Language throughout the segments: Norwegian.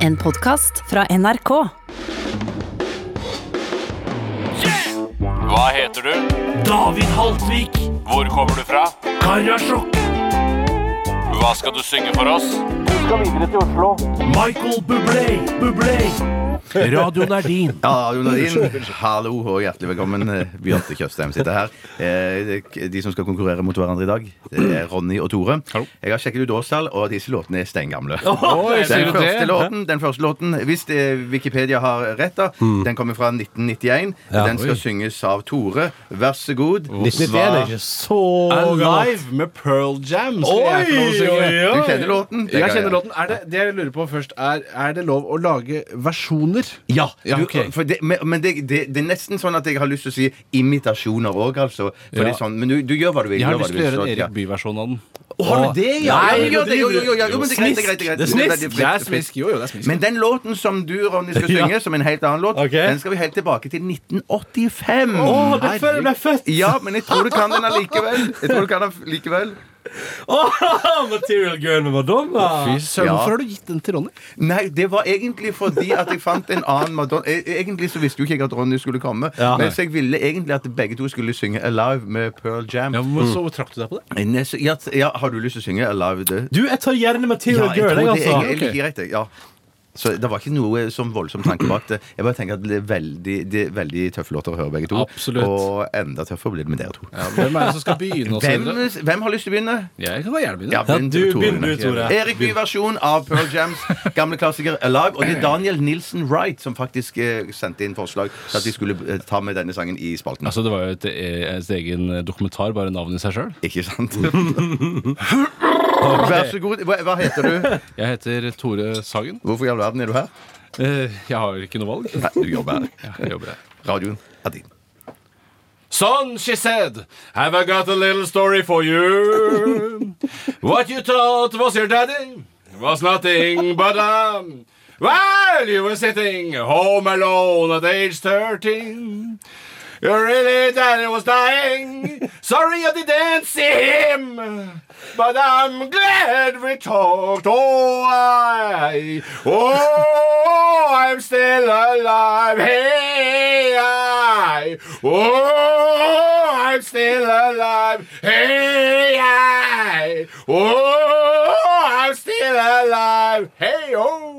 En podkast fra NRK. Hva heter du? David Haltvik, Hvor kommer du fra? Karasjok, Hva skal du synge for oss? Michael Bublé, Bublé. Radioen er din. Ja, Jonadin, hallo og hjertelig velkommen. eh, Bjarte Tjøstheim sitter her. Eh, De som skal konkurrere mot hverandre i dag, det er Ronny og Tore. Jeg har sjekket ut årstall, og disse låtene er steingamle. Den første låten, den første låten hvis eh, Wikipedia har rett, da, den kommer fra 1991. Den skal synges av Tore. Vær så god. 1991 er ikke så gammelt. Alive med Pearl Jam. skal jeg få lov å synge. Du kjenner låten? Det Jeg kan kjenner låten. Er det, det jeg lurer på først, er Er det lov å lage versjoner? Ja, Du, ok. for det, men men det, det, det er nesten sånn at jeg har lyst til å si imitasjoner òg, altså. For det er sånn, men du, du gjør hva du vil. Jeg har gjør hva lyst du til å gjøre vil, en så- ja. Erik Bye-versjon av den. Har du det, ja? Nei, jo, det, jo, jo, jo, jo, jo, men det er greit, det er greit, det er greit. Det er smisk. Det er fritt, Jeg er fritt. smisk. Jo, jo, det er smisk. Men den låten som du, Ronny, skal synge, som en helt annen låt, Ok. den skal vi helt tilbake til 1985. Å, det er før jeg ble født! Ja, men jeg tror du kan den allikevel. Jeg tror du kan den likevel. Åh, Material Girl med Madonna! Fy søren, Ja. hvorfor har du gitt den til Ronny? Nei, det var egentlig fordi at jeg fant en annen Madonna E- Egentlig så visste jo ikke jeg at Ronny skulle komme, Ja. men så jeg ville egentlig at begge to skulle synge Alive med Pearl Jam. Ja, men Så trakk du deg på det? Nei, så- Ja, ja, har du lyst til å synge Alive? Det? Du, jeg tar gjerne Material Ja, jeg Girl, tror jeg, det er- altså. jeg liker greit, jeg. Ja. Så det var ikke noe som voldsom tanke bak det. Jeg bare tenker at det er veldig, det er veldig tøffe låter å høre, begge to. Absolutt. Og enda tøffere blir det med dere to. Ja, hvem er det som skal begynne? og så Hvem, videre? hvem har lyst til å begynne? Jeg kan da gjerne begynne. Ja, begynn du, Tore. begynn du, Tore. Erik Bye versjon av Pearl Jams gamle klassiker Alive. Og det er Daniel Nilsen Wright som faktisk eh, sendte inn forslag til at de skulle eh, ta med denne sangen i spalten. Altså, Det var jo et, et egen dokumentar, bare navnet i seg sjøl. Ikke sant? Vær så god. Hva, hva heter du? Jeg heter Tore Sagen. Hvorfor i all verden er du her? Eh, Jeg har ikke noe valg. Nei, du jobber her. Ja, jeg jobber her. Radioen er din. Son, she said, have I got a little story for you? What you thought was your daddy was nothing but um, while you were sitting home alone at age 13. Your really daddy was dying. Sorry you didn't see him. But I'm glad we talked. Oh, I. Oh, I'm still alive. Hey, I. Oh, I'm still alive. Hey, I. Oh, I'm still alive. Hey, oh.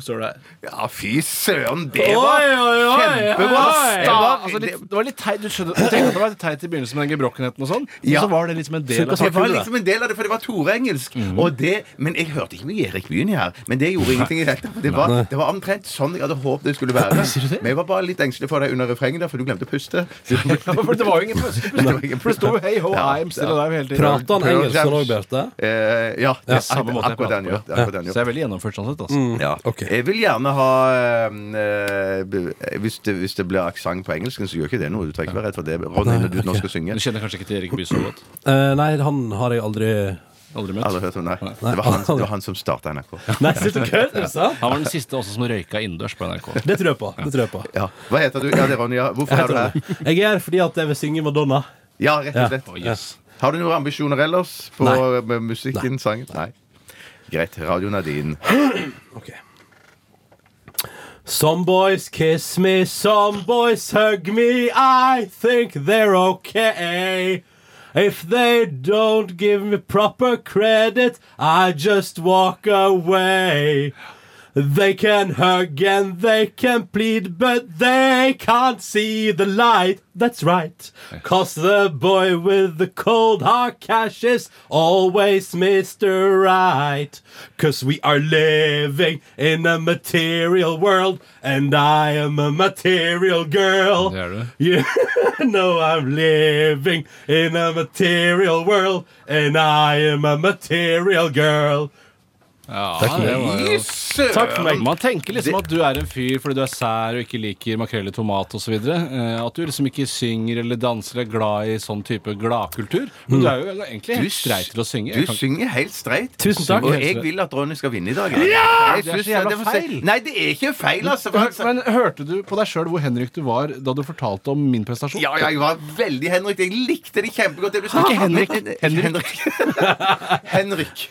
Står det Ja, fy søren, det var kjempebra! Ja, Det var- altså litt, det- det var litt teit, du skjønner, du tenkte at det var litt teit i begynnelsen med den gebrokkenheten og sånn, men Ja. så var det liksom en del av Mhm. det var saken, da. liksom en del av det, for det var Tore-engelsk. Og det, Men jeg hørte ikke mye Erik Byen i her. Men det gjorde ingenting. i dette for det var, det var omtrent sånn jeg hadde håpet det skulle være. Men jeg var bare litt engstelig for deg under refrenget, der, for du glemte å puste. Ja, for det var jo ingen For det sto jo 'Hey ho, Ja, I'm still alive' hele tiden. Prater han Pearl engelsk Jams. sånn òg, Bjarte? Eh, ja, det er samme måte jeg akkurat det han prater gjør. det er akkurat det han Så gjør. jeg er veldig gjennomført sånn sett, altså. Ja. Mm. ok. Jeg vil gjerne ha eh, eh, hvis, det, hvis det blir aksent på engelsken, så gjør ikke det noe. Du trenger ikke være redd for det. Ronny, når du nå skal synge. Du kjenner kanskje ikke til Erik Bye så godt? Eh, nei, han har jeg aldri Aldri møtt? Aldri hørt om det. Det var han, det var han som starta NRK. Nei, slutt å kødde! er det sant? Han var den siste også som røyka innendørs på NRK. Det tror jeg på. det tror Jeg på Ja. Hva heter du? Ja, det er Ronny. Ja. Hvorfor Jeg er du her? tror det. Jeg er her fordi at jeg vil synge Madonna. Ja, rett og Ja. slett. Å, yes. Har du noen ambisjoner ellers på Nei. med musikken, sangen? Nei. Greit. Radioen er din. Ok Some boys kiss me, some boys hug me I think they're okay If they don't give me proper credit I just walk away They can hug and they can plead But they can't see the light That's right Cause the boy with the cold hard cash is always Mr. Right Cause we are living in a material world And I am a material girl Det er du. you know I'm living in a material world, and I am a material girl. Ja, det var jo Takk for meg. Man tenker liksom at du er en fyr fordi du er sær og ikke liker makrell i tomat osv. At du liksom ikke synger eller danser eller er glad i sånn type gladkultur. Men du er jo egentlig Du helt streit til å synge. Du Jeg kan ikke- synger helt streit. Tusen takk. Og jeg vil at Ronny skal vinne i dag. altså. Jeg Det er synes- så jævla det får se- feil. Nei, det er ikke feil, altså. for Hør, altså- men hørte du på deg sjøl hvor Henrik du var da du fortalte om min prestasjon? Ja, ja, jeg var veldig Henrik. Jeg likte det kjempegodt. sånn- Det du sa. Ikke Henrik. Ah. Henrik. Henrik.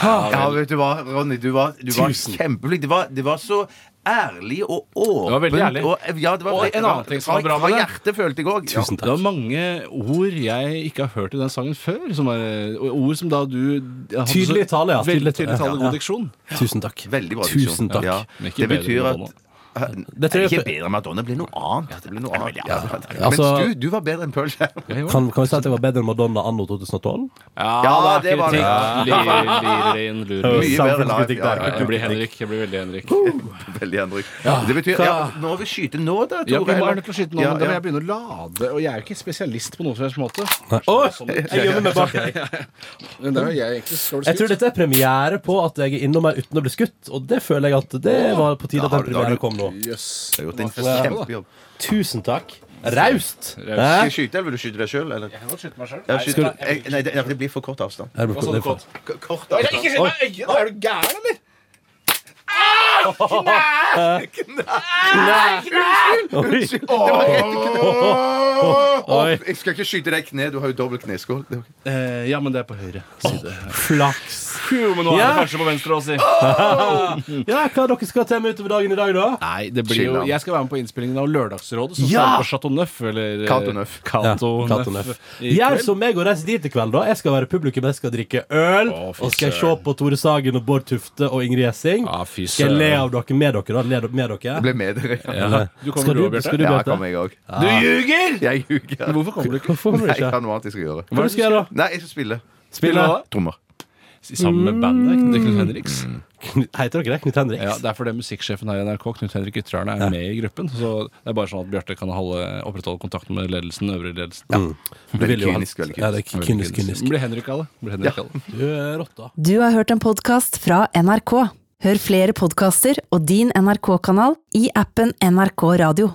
Ja, vet du hva, Ronny, du var, du var kjempeflink. Det var, det var så ærlig og åpent. veldig ærlig. Og, ja, det var, Og en annen ting som var bra med Fra det. hjertet, følte jeg òg. Tusen Det var takk. mange ord jeg ikke har hørt i den sangen før. Som var, og ord som da du hadde så- Tydelig tale, ja. Veldig Tydelig tydelig tale. tale, Ja. god diksjon. Tusen takk. Veldig bra. diksjon. Tusen takk. Ja. Men ikke Det bedre med betyr at Madonna. Dette det er- er ikke bedre enn Madonna, det blir noe annet. Det blir noe annet. Ja. Altså- Mens du, du var bedre enn Pearl Jam. Kan, kan vi si at det var bedre enn Madonna anno 2012? Ja, det var det. kritikk. Lurer, lurer inn, lurer Mye inn. bedre Samfunnskritikk live. Ja, der. ja, ja. Jeg blir Henrik. Jeg blir veldig Henrik. Veldig Henrik. Det betyr ja, Nå vil vi skyte nå, da, Tore. Ja, vi må eller? er nødt til å skyte nå, Ja, men da må ja. jeg begynne å lade. Og jeg er jo ikke spesialist på noen som helst måte. Oi, sånn jeg gjemmer meg bak deg. Men det er jo jeg egentlig som skal bli Jeg tror skutt. dette er premiere på at jeg er innom her uten å bli skutt, og det føler jeg at det var på tide at Da har den du- da har premieren du- kom nå. Jøss. Du har gjort en Hva- kjempejobb. Tusen takk. Raust! Skal jeg Hæ? skyte, eller vil du skyte deg sjøl? Eller? Jeg må skyte meg selv. Ja, skyt- jeg- Nei, det, ja, det blir for kort avstand. Er det Hva sa du, Kott? K- Kort avstand. Ikke skyt meg i øynene! Er du gæren, eller? Oi. Åh, Oi. Jeg skal ikke skyte deg i kne, du har jo dobbel kneskål. Det er ok. Eh, Ja, men det er på høyre side. Flaks. Jo, men nå er Ja. det kanskje på venstre også. si. Ja, hva dere skal til med utover dagen i dag, da? Nei, det blir Chill jo out. Jeg skal være med på innspillingen av Lørdagsrådet, som Ja! starter på Chateau Neuf. Eller eh, Cato Neuf. Cato Ja, Cato Neuf Neuf. i Gjør kveld. som meg og reis dit i kveld, da. Jeg skal være publikum, jeg skal drikke øl. Å, fy og skal jeg se søren. på Tore Sagen og Bård Tufte og Ingrid Gjessing. Ja, fy skal jeg le søren. av dere med dere, da? Le do- med dere? Jeg ble med dere. Ja. Du kommer skal du, du, også, Bjarte? skal du, Ja, Bjarte? kom jeg òg. Du ljuger! Jeg ljuger. Hvorfor kommer du ikke? Hvorfor kommer du Nei, jeg ikke? har noe annet jeg skal gjøre. Hva skal jeg gjøre, da? Nei, jeg skal spille. Spille Trommer. Sammen med bandet Knut Knut Henriks. Knut- Heter dere det? Knut Henriks? Ja, Det er fordi musikksjefen her i NRK, Knut Henrik Ytrerne, er med i gruppen. Så det er bare sånn at Bjarte kan holde, opprettholde kontakten med ledelsen, øvre ledelsen. Veldig vil jo ha- kynisk. veldig Ja, kynisk. det er kynisk, kynisk. Blir Henrik av det. Blir Henrik av det. Du er rotta. Du har hørt en podkast fra NRK. Hør flere podkaster og din NRK-kanal i appen NRK Radio.